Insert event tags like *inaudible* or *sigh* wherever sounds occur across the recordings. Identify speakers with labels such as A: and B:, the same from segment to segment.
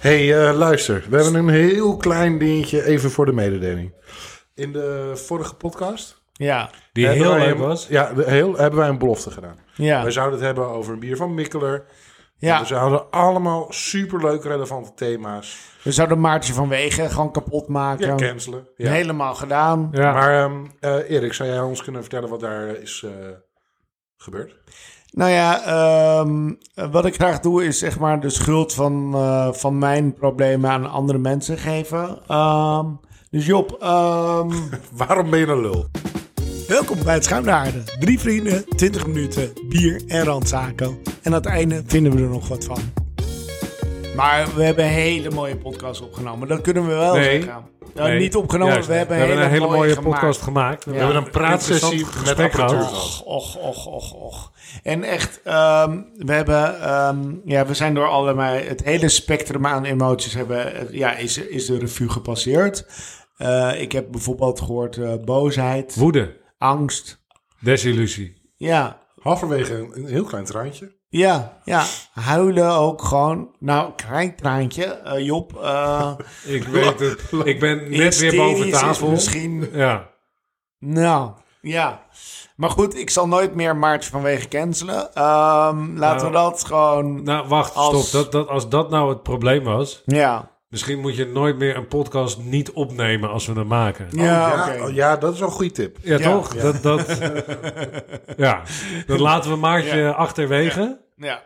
A: hey, eh, luister. We hebben een heel klein dingetje even voor de mededeling. In de vorige podcast...
B: Ja,
C: Die
A: hebben
C: heel
A: wij
C: leuk
A: een-
C: was.
A: Ja, de- heel, hebben wij een belofte gedaan.
B: ja,
A: Wij zouden het hebben over een bier van Mikkeler.
B: ja.
A: Ze hadden allemaal superleuk relevante thema's.
B: We zouden Maartje van Wegen gewoon kapot maken.
A: Ja, cancelen. Ja.
B: Helemaal gedaan.
C: Ja.
A: Maar ehm, eh, Erik, zou jij ons kunnen vertellen wat daar eh, is eh, gebeurd?
B: Nou ja, ehm, wat ik graag doe is zeg maar de schuld van, eh, van mijn problemen aan andere mensen geven. Ehm, dus Job, ehm,
A: Waarom ben je een lul?
D: *laughs* Welkom bij het Schuin Aarde. Drie vrienden, 20 minuten, bier en randzaken. En aan het einde vinden we er nog wat van.
B: maar we hebben een hele mooie podcast opgenomen. Dat kunnen we wel
C: Nee.
B: zeggen. Nou,
C: Nee,
B: niet opgenomen,
C: juist.
B: we hebben,
C: een hele mooie,
B: gemaakt.
C: podcast gemaakt. We
B: Ja.
C: hebben een praatsessie
A: Interessant
C: met
A: gesprek
C: apparatuur
A: gehad.
C: gehad.
B: Och, och, och, och, och. En echt, ehm, we hebben, ehm, ja, we zijn door allemaal het hele spectrum aan emoties hebben, eh, ja, is, is de revue gepasseerd. Eh, ik heb bijvoorbeeld gehoord eh, boosheid,
C: Woede,
B: angst,
C: desillusie.
B: ja,
A: Halverwege een, een heel klein traantje.
B: ja, ja, huilen ook gewoon. Nou, klein traantje, eh, Job. eh,
C: Ik weet het. *laughs* Ik ben *laughs* net weer boven
B: hysterisch is
C: tafel.
B: Misschien,
C: Ja.
B: nou, ja. Maar goed, ik zal nooit meer Maartje vanwege cancelen. Ehm, laten we dat gewoon...
C: Nou, wacht,
B: Als-
C: stop. Dat, dat, als dat nou het probleem was,
B: Ja.
C: misschien moet je nooit meer een podcast niet opnemen als we hem maken. Ja,
B: Ja,
A: ja,
B: oké.
A: oh, ja, dat is wel een goede tip.
B: Ja.
C: toch?
B: *laughs*
C: Dat, dat, ja. dat laten we Maartje achterwege.
B: Ja.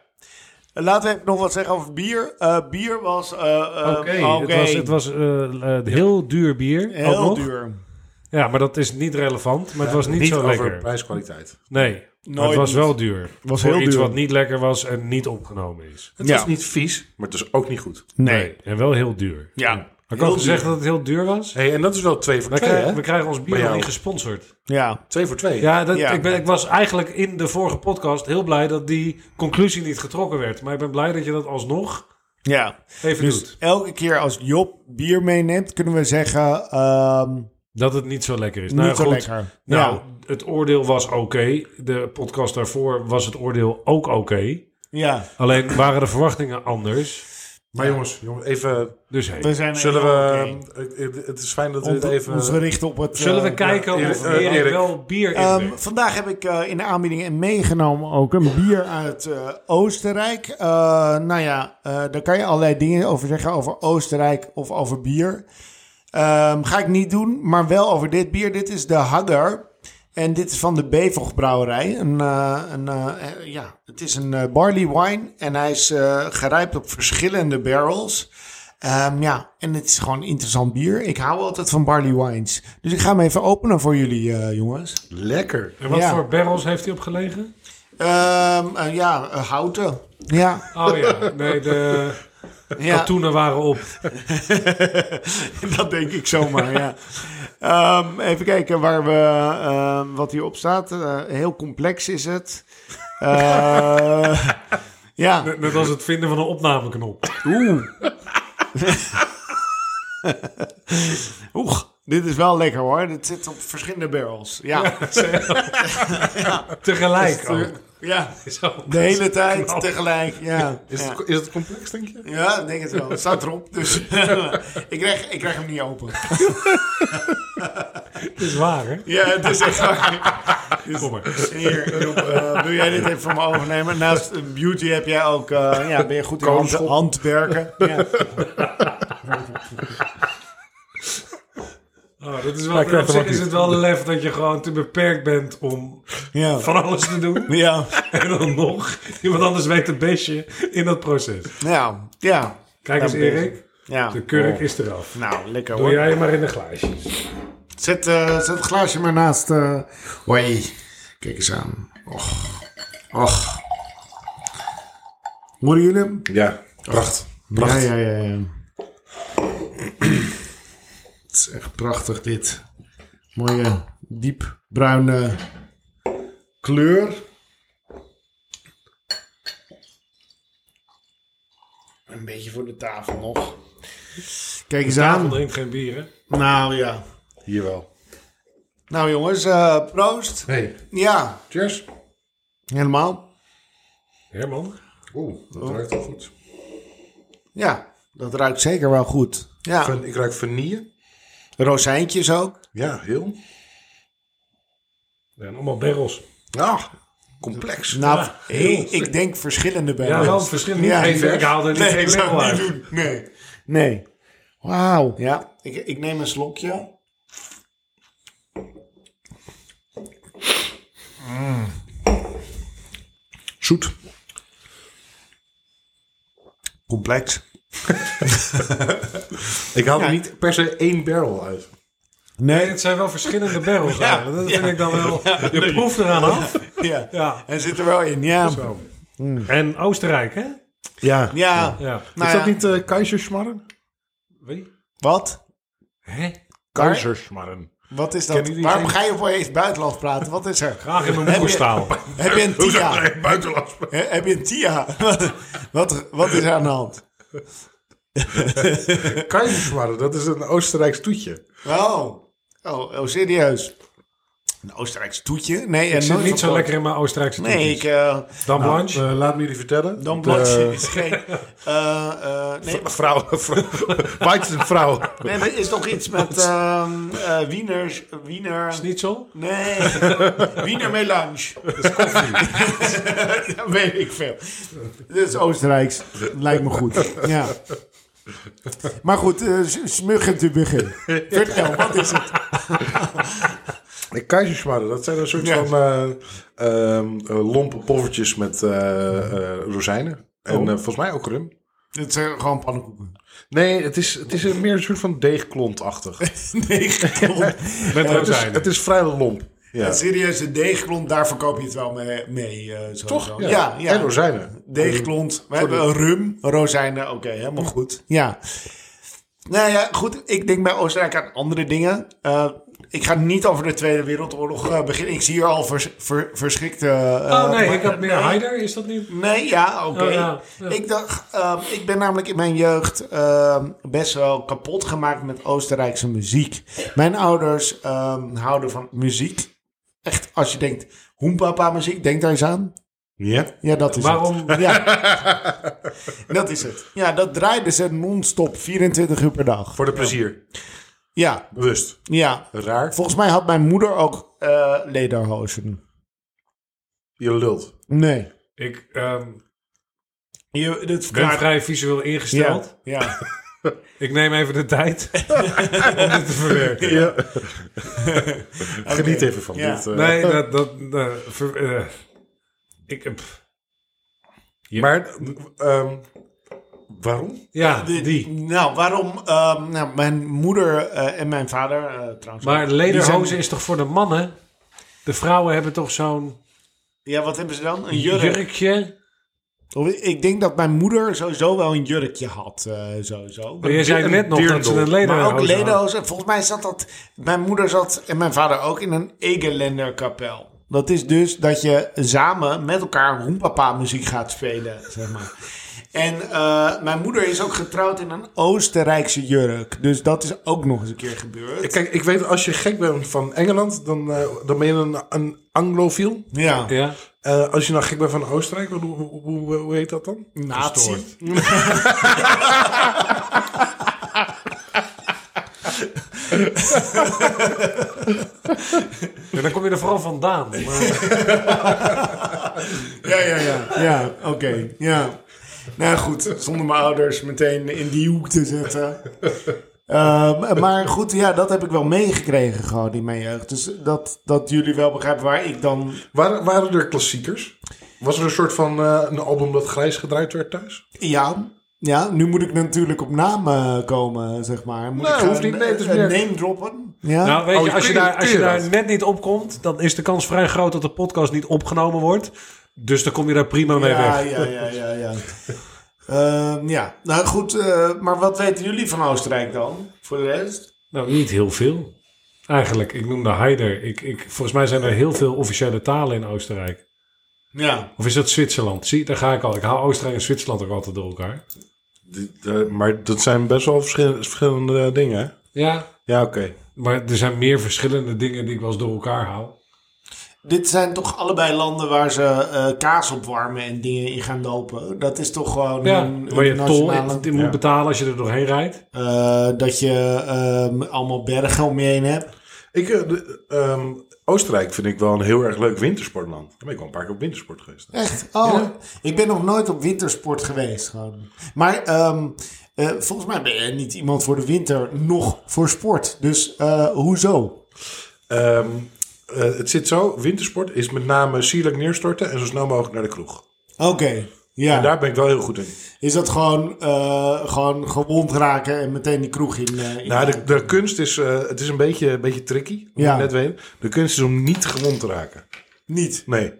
B: Eh, Laten we even nog wat zeggen over bier. Eh, bier was eh, eh,
C: Oké, het was, het was eh, eh, heel duur bier. ook
B: heel
C: nog.
B: duur.
C: Ja, maar dat is niet relevant. Maar het was niet,
A: Niet
C: zo
A: over
C: lekker.
A: prijskwaliteit.
C: Nee, maar het
B: Nooit
C: was
B: niet.
C: wel duur.
B: was
C: Voor
B: heel
C: iets
B: duur.
C: wat niet lekker was en niet opgenomen is.
A: Het
B: Ja.
A: is niet vies, maar het is ook niet goed.
C: En wel heel duur.
B: Ja.
C: Had ik
B: Heel
C: al
B: duur.
C: gezegd dat het heel duur was?
A: Hey, en dat is wel twee voor
C: We
A: twee,
C: krijgen,
A: hè?
C: we krijgen ons bier
A: Bij
C: nog
A: jou.
C: niet gesponsord.
B: Ja.
A: Twee voor twee.
C: Ja, dat,
B: Ja.
C: Ik, ben, ik was eigenlijk in de vorige podcast heel blij dat die conclusie niet getrokken werd. Maar ik ben blij dat je dat alsnog
B: Ja.
C: even
B: Dus
C: doet.
B: elke keer als Job bier meeneemt, kunnen we zeggen... ehm,
C: Dat het niet zo lekker is.
B: niet
C: nou,
B: zo
C: goed.
B: lekker.
C: Nou,
B: Ja.
C: het oordeel was oké. De podcast daarvoor was het oordeel ook oké.
B: ja.
C: Alleen waren de verwachtingen anders.
A: Maar jongens, jongens, even...
C: Dus hey.
B: We zijn
A: Zullen we...
B: oké.
A: eh, eh, Het is fijn dat we
B: Ons-
A: het even...
B: Ons richten op het...
C: Zullen we
B: eh,
C: kijken
A: ja,
C: of
A: Erik,
C: Erik,
A: Erik.
C: wel bier in
B: Ehm,
C: drinkt?
B: vandaag heb ik eh, in de aanbieding meegenomen ook een bier uit eh, Oostenrijk. Eh, nou ja, eh, daar kan je allerlei dingen over zeggen, over Oostenrijk of over bier. Ehm, ga ik niet doen, maar wel over dit bier. Dit is de Hagger. En dit is van de Bevog Brouwerij. Een, eh, een, eh, eh, ja, het is een eh, barley wine en hij is eh, gerijpt op verschillende barrels. Ehm, ja, en het is gewoon interessant bier. Ik hou altijd van barley wines. Dus ik ga hem even openen voor jullie, eh, jongens.
A: Lekker.
C: En wat
B: ja.
C: voor barrels heeft hij opgelegen?
B: Ehm, eh, ja, eh, houten. Ja,
C: Oh *laughs* ja, nee, de
B: ja
C: katoenen waren op.
B: *laughs* dat denk ik zomaar, ja. Ehm, even kijken waar we, ehm, wat hierop staat. Eh, heel complex is het. Eh, *laughs* ja.
C: Net als het vinden van een *laughs* opnameknop.
B: Oeh. Oeh, dit is wel lekker hoor. Dit zit op verschillende barrels. Ja,
C: Tegelijk ook.
B: ja.
C: Zo.
B: de hele tijd tegelijk. Ja.
A: Is,
B: ja.
A: het, is het complex, denk je?
B: Ja, ik denk het wel. Het staat erop, dus *laughs* ik, krijg, ik krijg hem niet open.
C: Het is waar, hè?
B: Ja, het is echt waar.
C: *laughs* Kom maar.
B: Hier, Job, eh, wil jij dit even van me overnemen? Naast eh, beauty heb jij ook, eh, ja, ben je goed in hand,
A: Koonschop.
B: handwerken. Ja.
C: Oh, dat is wel, op zich is het wel lef dat je gewoon te beperkt bent om
B: Ja.
C: van alles te *laughs* doen.
B: Ja.
C: En dan nog, iemand anders weet het bestje in dat proces.
B: ja, ja,
C: Kijk eens,
B: Ja, bezig.
C: Erik.
B: ja.
C: De kurk is eraf.
B: Nou, lekker
C: Doe
B: hoor.
C: jij maar in de glaasjes.
B: Zet, eh, zet het glaasje maar naast. eh Hoi, kijk eens aan. Och, och. Horen jullie hem?
A: Ja. Pracht.
B: Ja, ja, ja, ja. *clears throat* Het is echt prachtig dit. Mooie diep bruine kleur. Een beetje voor de tafel nog. Kijk eens
C: Tafel
B: aan.
C: drinkt geen bieren.
B: Nou ja.
A: Hier wel.
B: Nou jongens, eh, proost.
A: Hey,
B: Ja,
A: cheers.
B: helemaal.
C: Herman?
A: Oh. Oeh, dat ruikt al goed.
B: Ja. Dat ruikt zeker wel goed. Ja,
A: Van, ik ruik vanille.
B: rozijntjes ook.
A: Ja, heel.
C: Ja, en allemaal barrels.
A: Ja, complex.
B: Nou,
C: Ja, heel
B: ik, ik denk verschillende bij.
C: Ja, wel verschillende.
B: Ja,
C: Even, ik haal er niet
B: Nee, ik
C: één
B: zou
C: barrel
B: het niet
C: uit.
B: doen. Nee. Nee. Wauw. Ja, ik, ik neem een slokje.
A: Zoet.
B: Complex.
A: Ik haal er niet per se één barrel uit.
C: Nee,
B: Nee.
C: het zijn wel verschillende barrels. eigenlijk. dat vind ik dan wel. Je proeft eraan af.
B: Ja.
C: Ja.
B: En zit er wel in, ja.
C: En Oostenrijk, hè?
A: Ja.
B: Ja.
C: Ja.
B: Nou
A: Is dat
B: ja.
A: niet eh keizersmarren?
C: Wie?
B: Wat?
C: Hè?
A: Keizersmarren.
B: Wat is
A: Ken
B: dat?
A: je die
B: Waarom
A: zin?
B: ga je opeens buitenlands praten? Wat is er?
C: Graag in mijn moederstaal.
B: Heb je een TIA?
A: Nee, *laughs* buitenlands.
B: He- Heb je een TIA? *laughs* Wat, wat, wat is er aan de hand?
A: Keizersmarren, dat is een Oostenrijks toetje.
B: Oh, oh, oh serieus. Een Oostenrijks toetje? Nee,
C: Ik zit niet zo lekker in mijn Oostenrijkse
B: Nee,
C: toetjes.
B: ik... eh
C: Dan Blanche.
A: Eh, laat me jullie vertellen.
B: dan
A: De
B: blanche *laughs* is geen... eh, eh, nee,
A: v- Vrouw,
B: *laughs*
A: vrouw, Weizen vrouw.
B: nee, maar is toch iets *laughs* met ehm eh wieners, wiener...
C: Schnitzel?
B: Nee, *laughs* wiener melange. Dat is *laughs* koffie. dat weet ik veel. Dit is Oostenrijks. Lijkt me goed. Ja. Maar goed, uh, smuggend u begin. Vertel, wat is het?
A: Nee, Keizersmarren, dat zijn een soort
B: Ja.
A: van eh, ehm, eh, lompe poffertjes met eh, eh, rozijnen. En
B: Oh.
A: eh, volgens mij ook rum.
B: Het zijn gewoon pannenkoeken.
A: Nee, het is, het is een- meer een soort van
B: *laughs*
A: deegklontachtig. Het
B: Nee,
C: Met
A: is-
C: rozijnen.
A: het is vrij lomp. Ja.
B: Ja. Serieus, een deegklont, daar verkoop je het wel mee. mee eh, sowieso.
A: Toch?
B: Ja, ja.
A: En rozijnen.
B: Deegklont. We hebben een rum, rozijnen. Oké, helemaal goed. Ja. Nou ja, goed. Ik denk bij Oostenrijk aan andere dingen. Eh, ik ga niet over de Tweede Wereldoorlog eh, beginnen. Ik zie hier al vers, ver- verschrikte... eh,
C: oh nee,
B: maar-
C: ik had meer
B: nee.
C: Heider. Is dat niet?
B: Nee, ja, oké.
C: Oh, ja, ja.
B: Ik dacht, ehm, ik ben namelijk in mijn jeugd ehm, best wel kapot gemaakt met Oostenrijkse muziek. Mijn ouders ehm, houden van muziek. Echt, als je denkt, hoempapa muziek, denk daar eens aan.
A: Ja.
B: Ja, dat is
C: Waarom?
B: het. Ja. dat is het. Ja, dat draaiden ze non-stop, 24 uur per dag.
A: Voor de plezier.
B: Ja,
A: Bewust.
B: ja.
A: Raar.
B: Volgens mij had mijn moeder ook eh lederhosen.
A: Je lult.
B: Nee.
C: Ik ehm,
B: Je, dat
C: ben
B: verklaart...
C: vrij visueel ingesteld.
B: Ja, ja.
C: Ik neem even de tijd *laughs* om dit te verwerken.
B: *laughs*
A: Geniet
B: Oké.
A: even van
B: Ja.
A: dit. eh.
C: Nee, dat... dat eh, ver- eh, ik, eh, pff.
A: Maar ehm, waarom?
C: ja,
B: De-
C: die.
B: Nou, waarom? ehm, nou, mijn moeder eh, en mijn vader eh, trouwens.
C: Maar
B: ook, die
C: lederhozen
B: zijn-
C: is toch voor de mannen? De vrouwen hebben toch zo'n
B: Ja, wat hebben ze dan? Een jurk.
C: jurkje?
B: Of ik- Ik denk dat mijn moeder sowieso wel een jurkje had. eh, sowieso.
C: Maar je zei
A: een
C: net nog dat ze
A: dirndl.
C: een
B: Maar ook
C: lederhozen hadden.
B: lederhozen. Volgens mij zat dat... Mijn moeder zat en mijn vader ook in een Egeländer kapel. Dat is dus dat je samen met elkaar roempapa muziek gaat spelen, zeg maar. En eh, mijn moeder is ook getrouwd in een Oostenrijkse jurk. Dus dat is ook nog eens een keer gebeurd.
A: Eh, Kijk, ik weet als je gek bent van Engeland, dan, eh, dan ben je een, een anglofiel.
B: Ja.
C: Ja.
A: Eh, als je nou gek bent van Oostenrijk, hoe, hoe, hoe, hoe heet dat dan?
B: Nazi.
C: En dan kom je er vooral vandaan. Maar, eh,
B: Ja, ja, ja. Ja, oké. Ja. Nou goed, zonder mijn ouders meteen in die hoek te zetten. Ehm, maar goed, ja, dat heb ik wel meegekregen gewoon in mijn jeugd. Dus dat, dat jullie wel begrijpen waar ik dan...
A: Waren, waren er klassiekers? Was er een soort van eh, een album dat grijs gedraaid werd thuis?
B: Ja, ja nu moet ik natuurlijk op naam eh, komen, zeg maar. Moet
A: Nee,
B: ik gaan,
A: Nou, hoeft niet. Nee, het is
B: eh,
A: meer-
B: name droppen. Ja.
C: nou, weet
A: Oh,
C: je, als je
A: kun je-
C: daar, als
A: kun
C: je
A: je
C: daar
A: dat?
C: net niet opkomt, dan is de kans vrij groot dat de podcast niet opgenomen wordt. Dus dan kom je daar prima mee
B: ja,
C: weg.
B: ja, ja, ja, ja. Ehm, ja, nou goed, eh, maar wat weten jullie van Oostenrijk dan? Voor de rest?
C: Nou, niet heel veel. Eigenlijk, ik noemde Heider. Ik, ik, volgens mij zijn er heel veel officiële talen in Oostenrijk.
B: Ja.
C: Of is dat Zwitserland? Zie, daar ga ik al. Ik haal Oostenrijk en Zwitserland ook altijd door elkaar.
A: maar dat zijn best wel verschillende, dingen,
C: Ja,
A: Ja, oké.
C: maar er zijn meer verschillende dingen die ik wel eens door elkaar haal.
B: Dit zijn toch allebei landen waar ze eh, kaas op warmen en dingen in gaan dopen. Dat is toch gewoon
C: Ja,
B: een,
C: waar je
B: een
C: tol
B: nationale-
C: in- in moet betalen als je er doorheen rijdt.
B: Eh, dat je ehm, allemaal bergen om je heen hebt.
A: Ik, eh, de- ehm, Oostenrijk vind ik wel een heel erg leuk wintersportland. Daar ben ik wel een paar keer op wintersport geweest.
B: Echt? Oh, ik ben nog nooit op wintersport geweest. Gewoon. Maar ehm, eh, volgens mij ben je niet iemand voor de winter, nog voor sport. Dus eh, hoezo?
A: Ehm, eh, het zit zo, wintersport is met name sierlijk neerstorten en zo snel mogelijk naar de kroeg.
B: Oké, ja.
A: En daar ben ik wel heel goed in.
B: Is dat gewoon, eh, gewoon gewond raken en meteen die kroeg in? eh, in-
A: Nou, de, de kunst is, eh, het is een beetje, een beetje tricky, moet
B: Ja.
A: ik net weten. De kunst is om niet gewond te raken.
B: Niet.
A: Nee.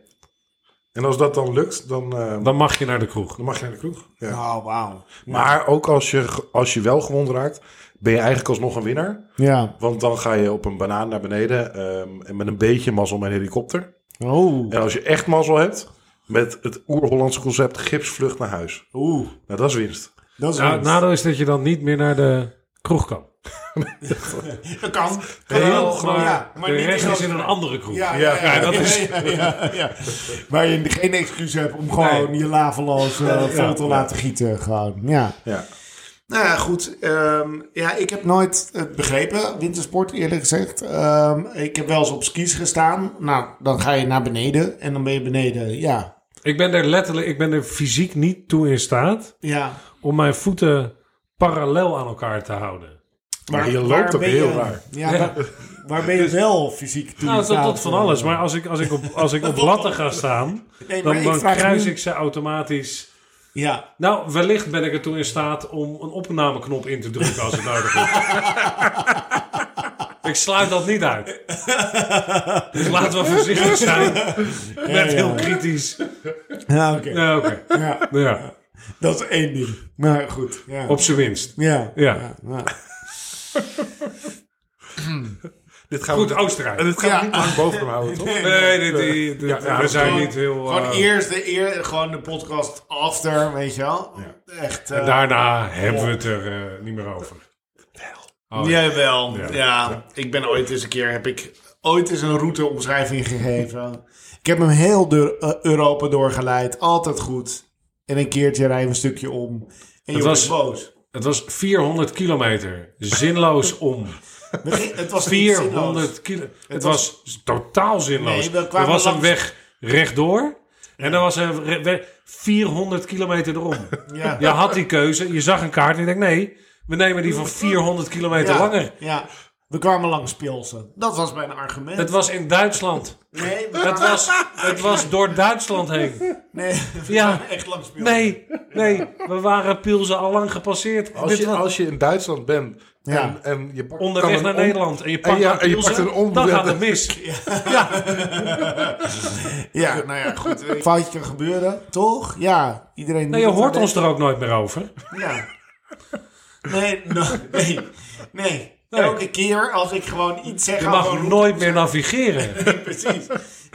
A: En als dat dan lukt, dan, eh,
C: Dan mag je naar de kroeg.
A: dan mag je naar de kroeg. Ja.
B: Oh, wauw.
A: Maar ook als je, ge- als je wel gewond raakt, ben je eigenlijk alsnog een winnaar.
B: Ja.
A: Want dan ga je op een banaan naar beneden ehm, en met een beetje mazzel met een helikopter.
B: Oh.
A: En als je echt mazzel hebt, met het oer-Hollandse concept gipsvlucht naar huis.
B: Oeh.
A: Nou, dat is winst.
B: Dat is
C: Nou,
B: winst.
C: het nadeel is dat je dan niet meer naar de kroeg kan.
B: Dat kan.
C: Heel,
B: Kan wel,
C: maar,
B: ja, maar
C: de
B: niet
C: rest
B: in
C: is in een
B: Oostenrijk.
C: andere kroeg.
B: Ja,
A: Ja,
B: ja, ja,
C: ja, dat
B: ja,
C: is-
B: *laughs* ja, ja, ja. Waar je geen excuus hebt om gewoon je laveloos eh, vol te laten gieten. Gewoon. Ja.
A: Ja.
B: Nou ja, goed. Ehm, ja, ik heb nooit het begrepen, wintersport eerlijk gezegd. Ehm, ik heb wel eens op skis gestaan. Nou, dan ga je naar beneden en dan ben je beneden. Ja.
C: Ik ben er letterlijk, ik ben er fysiek niet toe in staat
B: Ja.
C: om mijn voeten parallel aan elkaar te houden.
A: Maar je loopt ook
B: ben
A: heel
B: je-
A: raar.
B: Ja,
C: *laughs*
B: waar, waar ben je wel fysiek toe?
C: Dus- Nou,
B: in
C: dat, dat
B: staat?
C: van alles. Maar als ik, als ik, op, als
B: *laughs*
C: ik op latten ga staan,
B: Nee, maar
C: dan,
B: ik
C: dan
B: vraag
C: kruis
B: nu-
C: ik ze automatisch.
B: eh, Ja.
C: Nou, wellicht ben ik er toe in staat om een opnameknop in te drukken als het
A: *laughs*
C: nodig is. ik sluit dat niet uit. Dus laten we voorzichtig zijn. Met heel kritisch.
B: Ja, oké.
C: Ja, oké. Nou
B: Ja,
C: Ja,
B: dat is één ding. Maar goed. Ja.
C: op zijn winst.
B: ja.
C: Ja.
B: ja.
A: Dit gaan
C: Goed, oh,
A: we,
C: Oostenrijk.
A: en dit gaan we
B: Ja.
A: niet lang boven hem houden, toch?
C: *laughs* Nee, dit, die- dit-
A: Ja, ja,
C: we
A: dat
C: zijn
A: gewoon-
C: niet heel...
B: Gewoon
C: eh,
B: eerst de, eer, gewoon de podcast after, weet je wel. Echt. eh,
C: en daarna hebben we het er eh, niet meer over. Oh, ja.
B: Jawel. Ja,
C: Ja.
B: ik ben ooit eens een keer, heb ik ooit eens een routeomschrijving gegeven. Ik heb hem heel door eh, Europa doorgeleid, altijd goed. En een keertje rijden we een stukje om. En je was
C: was-
B: boos.
C: Het was 400 kilometer. Zinloos om.
B: We gingen- Het was niet zinloos.
C: 400 kilo. Het was totaal zinloos.
B: Nee, we kwamen
C: er was een
B: langs-
C: weg rechtdoor. En er was een re- weg 400 kilometer erom.
B: Ja.
C: Je had die keuze. Je zag een kaart en je denkt... Nee, we nemen die van 400 kilometer
B: Ja,
C: langer.
B: Ja, we kwamen langs Pilsen. Dat was mijn argument.
C: Het was in Duitsland.
B: nee, we
C: Het
B: kwamen-
C: was, het was door Duitsland heen.
B: nee, we
C: Ja.
B: kwamen echt langs Pilsen.
C: Nee, nee. We waren Pilsen al lang gepasseerd.
A: Als
C: Dit
A: je,
C: was-
A: als je in Duitsland bent en,
B: Ja.
A: en je pakt, kan
C: onderweg
A: een
C: naar
A: om-
C: Nederland en je pakt,
A: en ja,
C: aan
A: en je
C: Pilsen,
A: pakt een om-
C: dan gaat het mis.
B: Ja, nou *laughs* ja, goed. Een foutje kan gebeuren, toch? Ja, iedereen...
C: Nou, je
B: doet het
C: hoort
B: maar
C: ons er ook nooit meer over.
B: Ja. Nee, no- nee, nee.
C: Nee.
B: Elke keer als ik gewoon iets zeg
C: Je
B: over
C: mag nooit meer navigeren.
B: *laughs* Precies.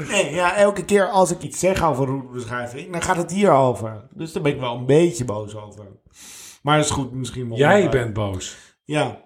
B: Nee, ja, elke keer als ik iets zeg over routebeschrijving, dan gaat het hierover. Dus daar ben ik wel een beetje boos over. Maar dat is goed, misschien wel.
C: Jij bent boos.
B: Ja.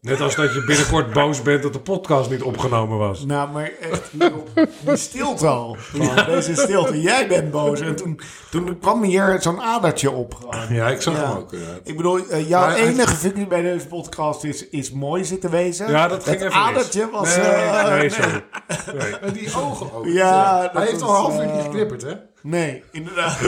C: Net als dat je binnenkort boos bent dat de podcast niet opgenomen was.
B: Nou, maar echt, hierop- die stilte
C: *laughs*
B: al. Gewoon, Deze stilte. Jij bent boos. En toen, toen kwam hier zo'n adertje op. gewoon.
A: Ja, ik zag
B: Ja.
A: hem ook. ja.
B: Ik bedoel, eh, jouw
A: Maar het-
B: enige functie bij deze podcast is, is mooi zitten wezen.
C: Ja, dat ging
B: Het
C: even mis.
B: adertje was...
C: Nee,
B: eh,
C: nee, sorry. Nee.
A: En die ogen ook.
B: Ja, dat
A: Hij heeft al
B: was,
A: een half uur
B: eh,
A: niet geknipperd, hè?
B: Nee,
C: *laughs*
B: inderdaad.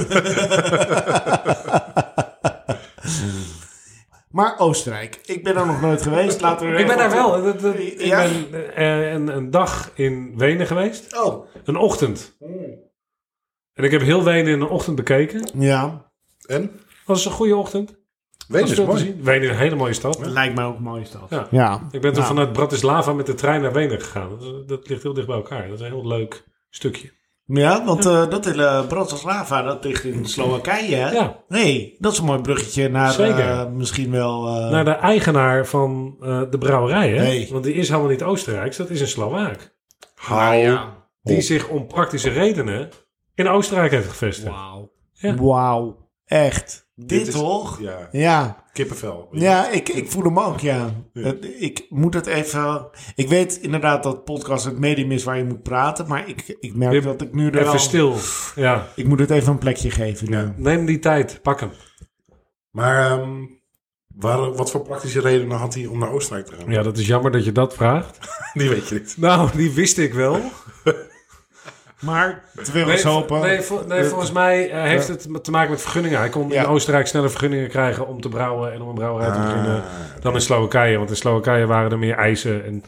B: maar Oostenrijk. Ik ben er nog nooit geweest. Laten we er
C: Ik ben
B: even
C: daar
B: op-
C: wel. Dat- dat- Ik
B: Ja?
C: ben eh, een, een dag in Wenen geweest.
B: Oh.
C: Een ochtend.
B: Hmm.
C: En ik heb heel Wenen in een ochtend bekeken.
B: Ja.
A: En?
C: was een goede ochtend.
A: Wenen
C: Was
A: is
C: veel te
A: mooi.
C: zien. Wenen is een hele mooie stad.
B: Lijkt mij ook een mooie stad.
C: Ja.
B: Ja.
C: Ik ben toen
B: Nou.
C: vanuit Bratislava met de trein naar Wenen gegaan. Dat, dat ligt heel dicht bij elkaar. Dat is een heel leuk stukje.
B: Ja, want eh, dat hele Bratislava, dat ligt in Slowakije, hè?
C: Ja.
B: Nee, dat is een mooi bruggetje naar
C: Zeker.
B: eh, misschien wel... eh,
C: Naar de eigenaar van eh, de brouwerij, hè?
B: Nee.
C: Want die is helemaal niet Oostenrijks, dat is een Slovaak.
A: Hou.
B: ja.
C: Die zich om praktische redenen in Oostenrijk heeft gevestigd.
B: Wauw.
C: Ja.
B: Wauw. Echt. Dit,
A: is-
B: toch?
A: Ja,
B: ja.
A: kippenvel.
B: Ja, ik, ik voel hem ook, ja. Het- Ik moet het even... Ik weet inderdaad dat podcast het medium is waar je moet praten, maar ik, ik merk
C: Wim,
B: dat ik nu er wel...
C: Even stil. Ja.
B: Ik moet het even een plekje geven. nu.
A: Ja.
C: Neem die tijd. Pak hem.
A: Maar ehm, waar, wat voor praktische redenen had hij om naar Oostenrijk te gaan?
C: Ja, dat is jammer dat je dat vraagt.
A: Die weet je niet.
C: Nou, die wist ik wel.
B: Maar de wereld
C: Nee,
B: is open.
C: nee, vol- nee, volgens mij eh, heeft het te maken met vergunningen. Hij kon
B: Ja.
C: in Oostenrijk sneller vergunningen krijgen om te brouwen en om een brouwerij te beginnen
A: Ah,
C: dan in Slowakije. Want in Slowakije waren er meer eisen en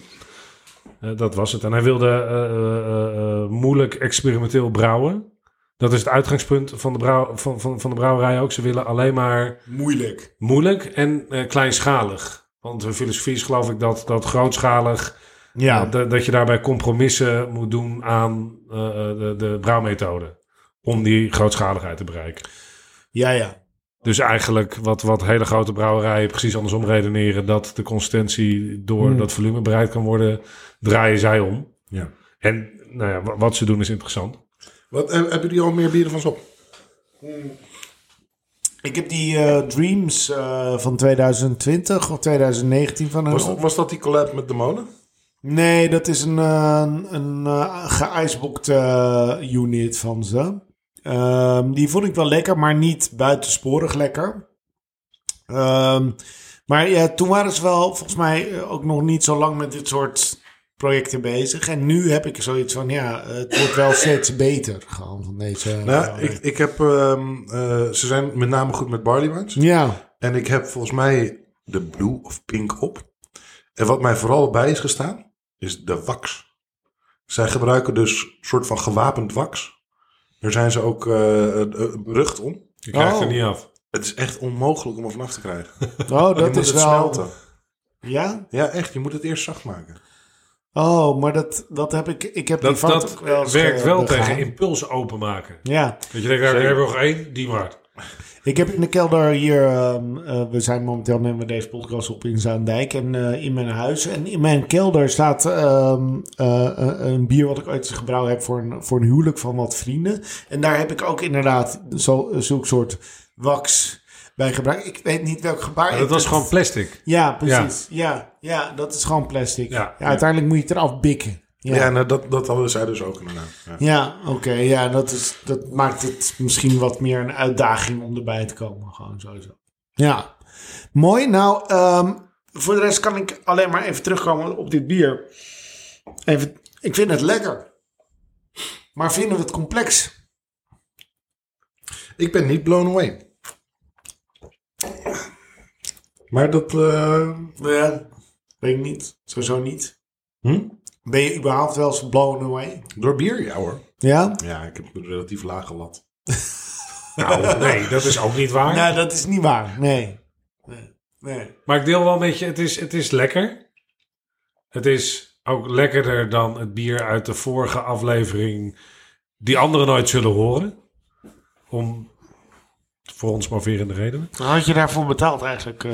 C: eh, dat was het. En hij wilde eh, eh, eh, eh, moeilijk experimenteel brouwen. Dat is het uitgangspunt van de, brouw, van, van, van de brouwerij ook. Ze willen alleen maar
D: Moeilijk.
C: moeilijk en eh, kleinschalig. Want hun filosofie is geloof ik dat, dat grootschalig
B: Ja,
C: dat, dat je daarbij compromissen moet doen aan eh, eh, de, de brouwmethode. Om die grootschaligheid te bereiken.
B: ja, ja.
C: Dus eigenlijk wat, wat hele grote brouwerijen precies andersom redeneren. Dat de consistentie door
B: Hmm.
C: dat volume bereid kan worden. Draaien zij om.
A: Ja.
C: En nou ja, wa- wat ze doen is interessant.
A: Wat, eh, hebben jullie al meer bieren van Sop?
B: Ik heb die eh, Dreams eh, van 2020 of 2019 van hen
A: Was,
B: op.
A: dat- was dat die collab met de molen?
B: Nee, dat is een, eh, een, een eh, geicebooked, eh, unit van ze. Ehm, die vond ik wel lekker, maar niet buitensporig lekker. Ehm, maar ja, toen waren ze wel volgens mij eh, ook nog niet zo lang met dit soort projecten bezig. En nu heb ik zoiets van, ja, het wordt wel steeds beter gewoon van deze...
A: Nou, ik, ik heb, ehm, eh, ze zijn met name goed met barley wines.
B: Ja,
A: En ik heb volgens mij de blue of pink op. En wat mij vooral bij is gestaan, is de wax. Zij gebruiken dus een soort van gewapend wax. Daar zijn ze ook eh, eh, berucht om.
C: Je krijgt
B: Oh.
C: er niet af.
A: Het is echt onmogelijk om er vanaf te krijgen.
B: oh,
A: je
B: dat
A: moet
B: is
A: het
B: wel...
A: smelten.
B: Ja?
A: Ja, echt. Je moet het eerst zacht maken.
B: Oh, maar dat, dat heb ik... Ik heb die
C: Dat,
B: fout
C: dat
B: ook wel eens,
C: werkt
B: eh,
C: wel
B: begaan.
C: tegen impuls openmaken.
B: Ja.
C: Dat je denkt, nou, ik heb er nog één, die maar.
B: Ik heb in de kelder hier, ehm, eh, we zijn momenteel nemen we deze podcast op in Zaandijk en eh, in mijn huis. En in mijn kelder staat ehm, eh, eh, een bier wat ik ooit gebrouwen heb voor een, voor een huwelijk van wat vrienden. En daar heb ik ook inderdaad zo, zulk soort wax bij gebruikt. Ik weet niet welk gebaar.
C: Maar
B: ik- dus-
C: dat was gewoon plastic.
B: Ja, precies. Ja. Ja, dat is gewoon plastic.
C: Ja,
B: Ja,
C: ja.
B: uiteindelijk moet je het eraf bikken.
A: Ja,
B: Ja, ja.
A: nou, dat, dat hadden zij dus ook inderdaad. Ja.
B: oké. ja, dat, is, dat maakt het misschien wat meer een uitdaging om erbij te komen. Gewoon sowieso. Ja, mooi. Nou, ehm, voor de rest kan ik alleen maar even terugkomen op dit bier. Even, ik vind het lekker. Maar vinden we het complex?
A: Ik ben niet blown away. Maar dat... eh,
B: Ja. Weet ik niet. Sowieso niet.
A: hm?
B: Ben je überhaupt wel eens blown away?
A: Door bier, ja hoor.
B: Ja?
A: Ja, ik heb een relatief lage lat.
C: Nou, nee, dat is ook niet waar.
B: Nou, dat is niet waar. Nee. Nee. nee.
C: Maar ik deel wel een beetje, het is, het is lekker. Het is ook lekkerder dan het bier uit de vorige aflevering, die anderen nooit zullen horen. Om voor ons moverende redenen.
B: Had je daarvoor betaald eigenlijk?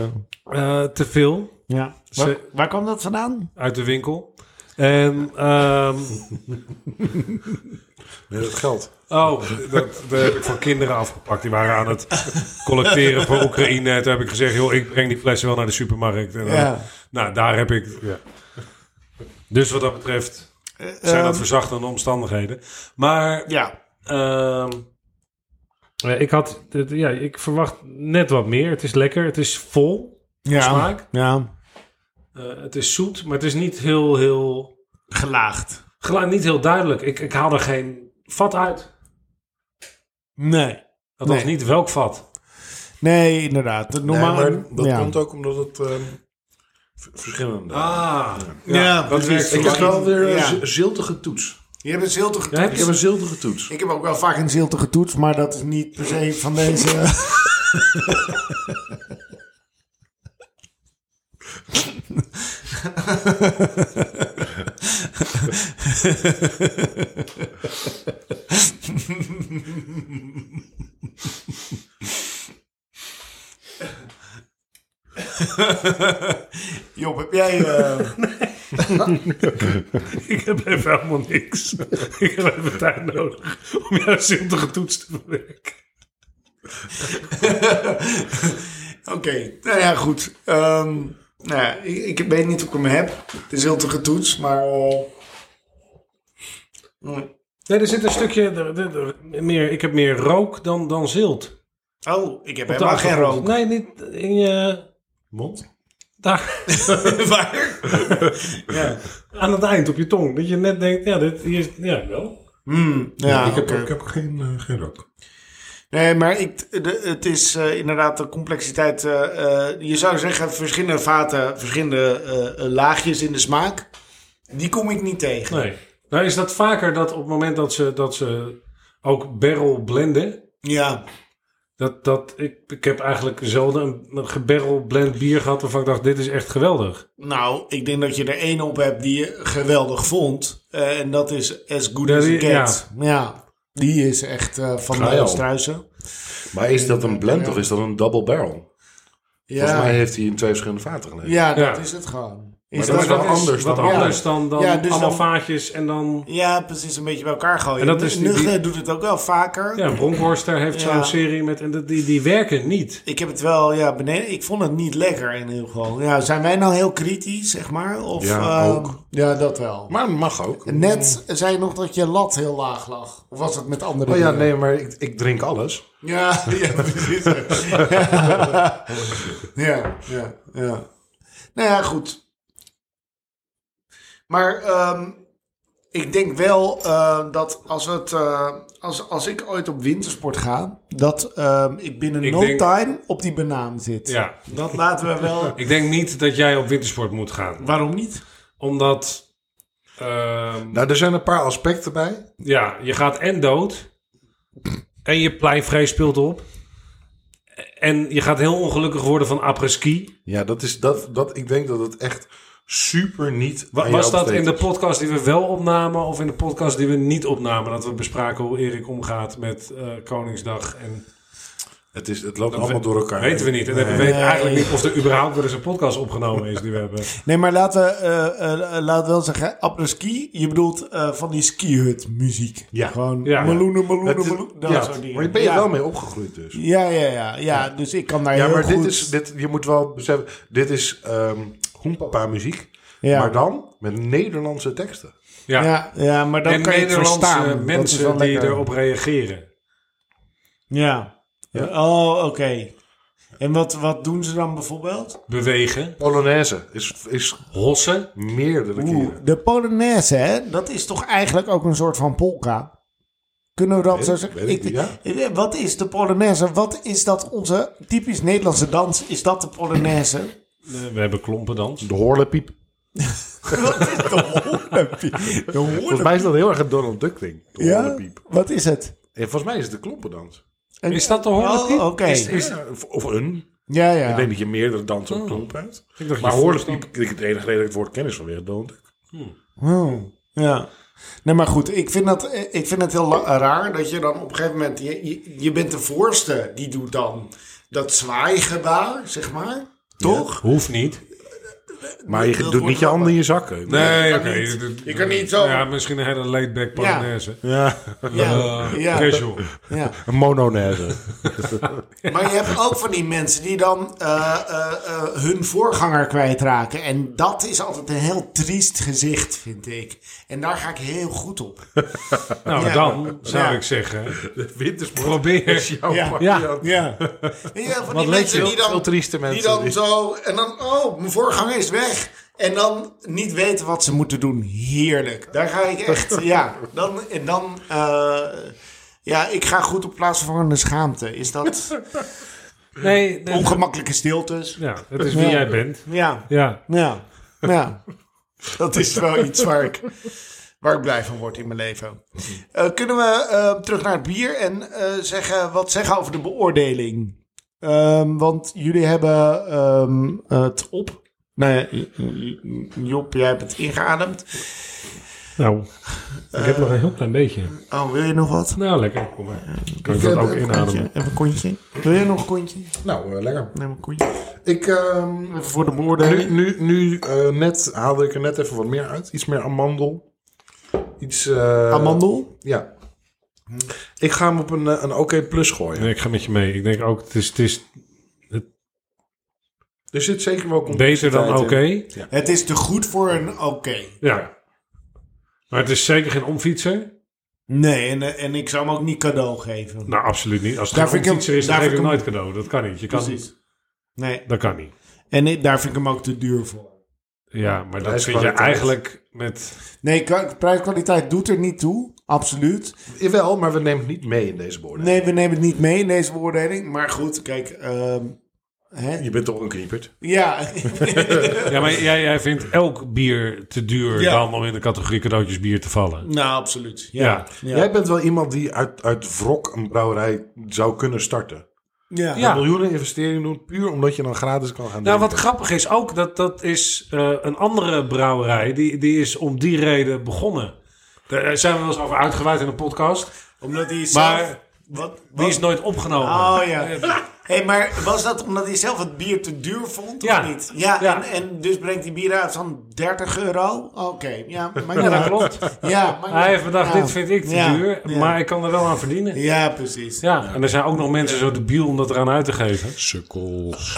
C: Eh, te veel
B: ja. Waar,
C: Ze-
B: waar kwam dat vandaan?
C: uit de winkel. En, ehm,
A: Nee, dat geldt.
C: oh, dat, dat heb ik van kinderen afgepakt. Die waren aan het collecteren voor Oekraïne. En toen heb ik gezegd, joh, ik breng die flessen wel naar de supermarkt. En, eh,
B: Ja.
C: nou, daar heb ik... Ja. Dus wat dat betreft,
B: Eh,
C: Zijn
B: ehm,
C: dat verzachtende omstandigheden. Maar
B: ja.
C: ehm, eh, ik had, dit- ja, ik verwacht net wat meer. Het is lekker, het is vol
B: Ja.
C: smaak.
B: Ja.
C: Eh, het is zoet, maar het is niet heel, heel,
B: Gelaagd.
C: gela- niet heel duidelijk. Ik, ik haal er geen vat uit.
B: Nee.
C: Dat was
B: Nee.
C: niet welk vat.
B: Nee, inderdaad. De
A: Nee,
B: normale,
A: maar dat
B: ja.
A: komt ook omdat het ehm, v- verschillende...
C: Ah,
B: Ja,
C: dat
B: precies.
C: werkt.
A: ik heb
C: voor mij.
A: wel weer een
B: Ja.
A: z- ziltige toets.
B: Je hebt dus een ziltige
C: Ja, heb
A: Ik
C: je-
A: heb een ziltige toets.
B: Ik heb ook wel vaak een ziltige toets, maar dat is niet per se van deze. Job, heb jij... eh,
C: Ik heb even helemaal niks. ik heb even tijd nodig om jouw ziltige toets te verwerken.
B: Oké, nou ja, goed. Ehm, nou ja, ik, ik weet niet of ik hem heb. Het is heel te getoetst, maar... eh, mm.
C: Nee, er zit een stukje... er- er- er- meer, ik heb meer rook dan, dan zilt.
B: Oh, ik heb
C: Op de
B: helemaal geen
C: achtergrond.
B: rook.
C: Nee, niet in je...
A: Mond?
C: Daar,
B: *laughs* Waar? ja.
C: aan het eind op je tong. Dat je net denkt, ja, dit hier is... Ja, wel.
B: Mm, ja,
A: ik, heb,
B: oké.
A: ik heb geen, eh, geen rook.
B: Nee, maar ik, de, het is eh, inderdaad de complexiteit. eh, eh, je zou zeggen, verschillende vaten, verschillende eh, eh, laagjes in de smaak. Die kom ik niet tegen.
C: Nee. Nou is dat vaker dat op het moment dat ze, dat ze ook barrel blenden...
B: Ja,
C: Dat, dat, ik, ik heb eigenlijk zelden een, een gebarrel blend bier gehad waarvan ik dacht, dit is echt geweldig.
B: nou, ik denk dat je er één op hebt die je geweldig vond. Eh, en dat is As Good
C: Dat
B: As It
C: is- ja.
B: Gets. Ja. die is echt eh, van
A: Ga je
B: de
A: al.
B: struisen.
A: Maar is dat een blend of is dat een double barrel? Volgens mij
B: Ja,
A: heeft hij in twee verschillende vaten gelegen.
B: ja, dat
C: Ja.
B: is het gewoon.
A: Maar
B: Is
A: dat
B: dat-
A: is wel anders
C: wat
A: dan-
C: anders dan, dan
B: Ja, dus
C: allemaal
B: dan-
C: vaatjes en dan...
B: ja, precies een beetje bij elkaar gooien.
C: En dat is die- die-
B: Nugge doet het ook wel vaker.
C: Ja, Bronkhorster heeft
B: Ja.
C: zo'n serie met... En dat- die, die werken niet.
B: Ik heb het wel, ja, beneden. Ik vond het niet lekker in ieder geval. Ja, zijn wij nou heel kritisch, zeg maar? Of,
A: Ja,
B: ehm,
A: ook.
E: Ja, dat wel.
A: Maar mag ook.
E: Net zei je nog dat je lat heel laag lag. Of was het met andere
A: Oh ja,
E: bieren?
A: nee, maar ik, ik drink alles.
B: *laughs*
E: Ja, ja, precies.
B: Ja, ja, ja. Nou ja, goed. Maar ehm, ik denk wel eh, dat als, het, eh, als, als ik ooit op wintersport ga, dat ehm, ik binnen
C: Ik
B: no
C: denk-
B: time op die banaan zit.
C: Ja.
B: Dat laten we
C: *laughs*
B: wel.
C: Ik denk niet dat jij op wintersport moet gaan.
B: Waarom niet?
C: Omdat... ehm,
A: Nou, er zijn een paar aspecten bij.
C: ja, je gaat en dood. En je pleinvrees speelt op. En je gaat heel ongelukkig worden van après-ski.
A: Ja, dat is dat, dat. Ik denk dat het echt super niet.
C: Wa-
A: aan
C: Was
A: jou
C: dat
A: besteed
C: in de
A: is.
C: podcast die we wel opnamen of in de podcast die we niet opnamen? Dat we bespraken hoe Erik omgaat met eh, Koningsdag. En
A: Het, is, het loopt
C: Dat
A: allemaal
C: we-
A: door elkaar.
C: weten we niet. En we weten eigenlijk niet of er überhaupt weer eens een podcast opgenomen is die we hebben.
E: Nee, maar laten we eh, eh, eh, laten we wel zeggen, apres-ski. Je bedoelt eh, van die skihut muziek.
A: Ja.
E: Gewoon
C: Ja.
E: meloenen, meloenen,
A: Het is-
E: meloenen. Dat
A: ja,
E: soort dingen.
A: maar je ben je
E: ja.
A: wel mee opgegroeid dus.
E: Ja, ja, ja, ja. Dus ik kan daar
A: Ja,
E: heel
A: maar
E: goed...
A: dit is, dit, je moet wel beseffen, dit is ehm hoenpapa muziek.
E: Ja.
A: Maar dan met Nederlandse teksten.
C: Ja.
E: Ja, ja, maar dan
C: en
E: kan je het
C: Nederlandse
E: verstaan. Dat is wel
C: mensen die
E: lekker.
C: erop reageren.
E: Ja.
A: Ja.
E: Oh, oké. En wat, wat doen ze dan bijvoorbeeld?
C: Bewegen.
A: Polonaise is, is
C: Hossen.
A: meerdere keren.
E: De Polonaise, hè? Dat is toch eigenlijk ook een soort van polka? Kunnen we dat
A: Weet
E: zo
A: ik-
E: zeggen?
A: weet ik
E: eh, Wat is de Polonaise? Wat is dat onze typisch Nederlandse dans? Is dat de
A: *laughs*
E: Polonaise?
C: Eh, We hebben klompendans.
A: De horlepiep.
E: Wat is de hoornpie? De
A: Volgens mij is dat heel erg een Donald Duck ding. De
E: Ja?
A: horlepiep.
E: Wat is het?
A: En volgens mij is het de klompendans.
E: Een-
C: Is dat de horlepiep?
E: Oh, oké.
A: Is, is, of- Of een.
E: Ja, ja.
A: Ik denk dat je meerdere dansen op klomp hebt.
C: Ik dacht,
A: Maar
C: je
A: horlepiep,
C: voorstand-
A: ik het enige reden dat ik het woord ken is vanwege Donald Duck.
E: Hmm.
B: Ja. Nee, maar goed, ik vind, dat, eh, ik vind het heel la- raar dat je dan op een gegeven moment... Je, je, je bent de voorste die doet dan dat zwaaigebaar, zeg maar. Toch?
C: Hoeft niet.
A: Maar je doet
B: wordt
A: niet je handen in je zakken.
C: Nee, oké.
B: niet.
C: dit-
B: Je kan niet zo.
C: Ja, misschien een hele laid-back Polonaise.
A: Ja, *laughs*
B: Ja.
C: Eh,
B: ja.
C: casual.
E: Ja.
A: een mononaise.
B: Maar je hebt ook van die mensen die dan eh, eh, eh, hun voorganger kwijtraken. En dat is altijd een heel triest gezicht, vind ik. En daar ga ik heel goed op.
C: Nou,
B: Ja.
C: dan zou
B: Ja.
C: ik zeggen...
A: *laughs* De wintersport
C: Probeer.
A: jouw
B: *laughs* Ja.
A: pakje aan.
E: Ja.
B: Weet je wel, van
C: Wat
B: die
C: leuk,
B: mensen
C: joh.
B: die
A: Veel
B: dan,
A: trieste mensen.
B: die dan
A: die-
B: zo... En dan, oh, mijn voorganger is weg. En dan niet weten wat ze moeten doen. Heerlijk. Daar ga ik echt, ja. Dan, en dan... eh, ja, ik ga goed op plaatsvervangende schaamte. Is dat
C: Nee, nee.
B: ongemakkelijke stiltes?
C: Ja, het is wie
E: Ja.
C: jij bent.
B: Ja.
C: Ja.
E: Ja. Ja.
B: *laughs* Dat is wel iets waar ik, waar ik blij van word in mijn leven. Eh, kunnen we eh, terug naar het bier en eh, zeggen, wat zeggen over de beoordeling?
E: Ehm, want jullie hebben ehm, het op.
B: Nou ja, J- J- Job, jij hebt het ingeademd.
C: Nou, ik heb nog een heel klein beetje.
B: Oh, wil je nog wat?
C: Nou, lekker. Kom maar. Kan ik dat ook inademen?
B: Even een kontje.
E: Wil jij nog een kontje?
A: Nou, eh, lekker.
B: Neem een kontje.
A: Ik, ehm,
B: Even voor de
A: nu
B: beoordeling.
A: nu, nu eh, net haalde ik er net even wat meer uit. Iets meer amandel. Iets... eh,
E: Amandel?
A: Ja. Ik ga hem op een, eh, een oké plus gooien.
C: Nee, ik ga met je mee. Ik denk ook, het is, het is
A: Er zit zeker wel
C: beter dan oké.
A: complexiteit in.
B: Het is te goed voor een oké.
C: Ja. Maar het is zeker geen omfietser.
B: Nee, en, eh, en ik zou hem ook niet cadeau geven.
C: Nou, absoluut niet. Als het
B: Daar
C: geen
B: vind ik hem-
C: omfietser is, dan
B: daar
C: geef ik
B: vind
C: hem
B: ik
C: nooit cadeau. Dat kan niet. Je kan,
B: Precies. Nee,
C: dat kan niet.
B: en ik- daar vind ik hem ook te duur voor.
C: Ja, maar dat vind je
A: Prijskwaliteit.
C: eigenlijk met...
B: Nee, kwa- prijskwaliteit doet er niet toe. Absoluut.
A: Jawel, maar we nemen het niet mee in deze beoordeling.
B: Nee, we nemen het niet mee in deze beoordeling. Maar goed, kijk. ehm, hè?
A: Je bent toch een kniepert?
C: *laughs*
B: Ja,
C: Ja, maar jij, jij vindt elk bier te duur
B: Ja.
C: dan om in de categorie cadeautjes bier te vallen.
B: nou absoluut. Ja.
C: Ja.
B: Ja.
A: Jij bent wel iemand die uit, uit wrok een brouwerij zou kunnen starten.
B: Ja.
C: Ja.
A: Miljoenen investeringen doen puur omdat je dan gratis kan gaan
C: Nou,
A: drinken.
C: wat grappig is ook, dat, dat is eh, een andere brouwerij. Die, die is om die reden begonnen. Daar eh, zijn we wel eens over uitgeweid in een podcast.
B: Omdat hij zelf...
C: Maar
B: wat,
C: die
B: wat-
C: is nooit opgenomen.
B: Oh ja. hey, maar was dat omdat hij zelf het bier te duur vond
C: Ja.
B: of niet? Ja,
C: Ja.
B: En, en dus brengt die bier uit van 30 euro? Oké, ja. Maar
C: Ja, dat klopt.
B: Ja, maar
C: Hij heeft bedacht,
B: Ja.
C: dit vind ik te
B: Ja.
C: duur,
B: Ja.
C: maar ik kan er wel aan verdienen. Ja.
B: Ja, precies.
C: en er zijn ook nog mensen zo debiel om dat eraan uit te geven.
A: Sukkels.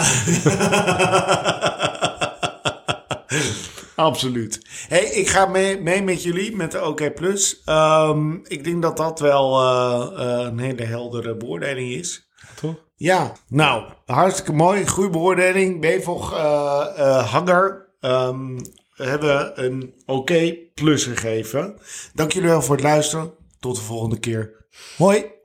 B: Absoluut. Hey, ik ga mee, mee met jullie, met de OK+. Plus. Ehm, ik denk dat dat wel eh, eh, een hele heldere beoordeling is.
C: Toch?
B: Ja, nou, hartstikke mooi. Goede beoordeling. Bevog eh eh, Hanger ehm, we hebben een OK plus gegeven. Dank jullie wel voor het luisteren. Tot de volgende keer. Hoi.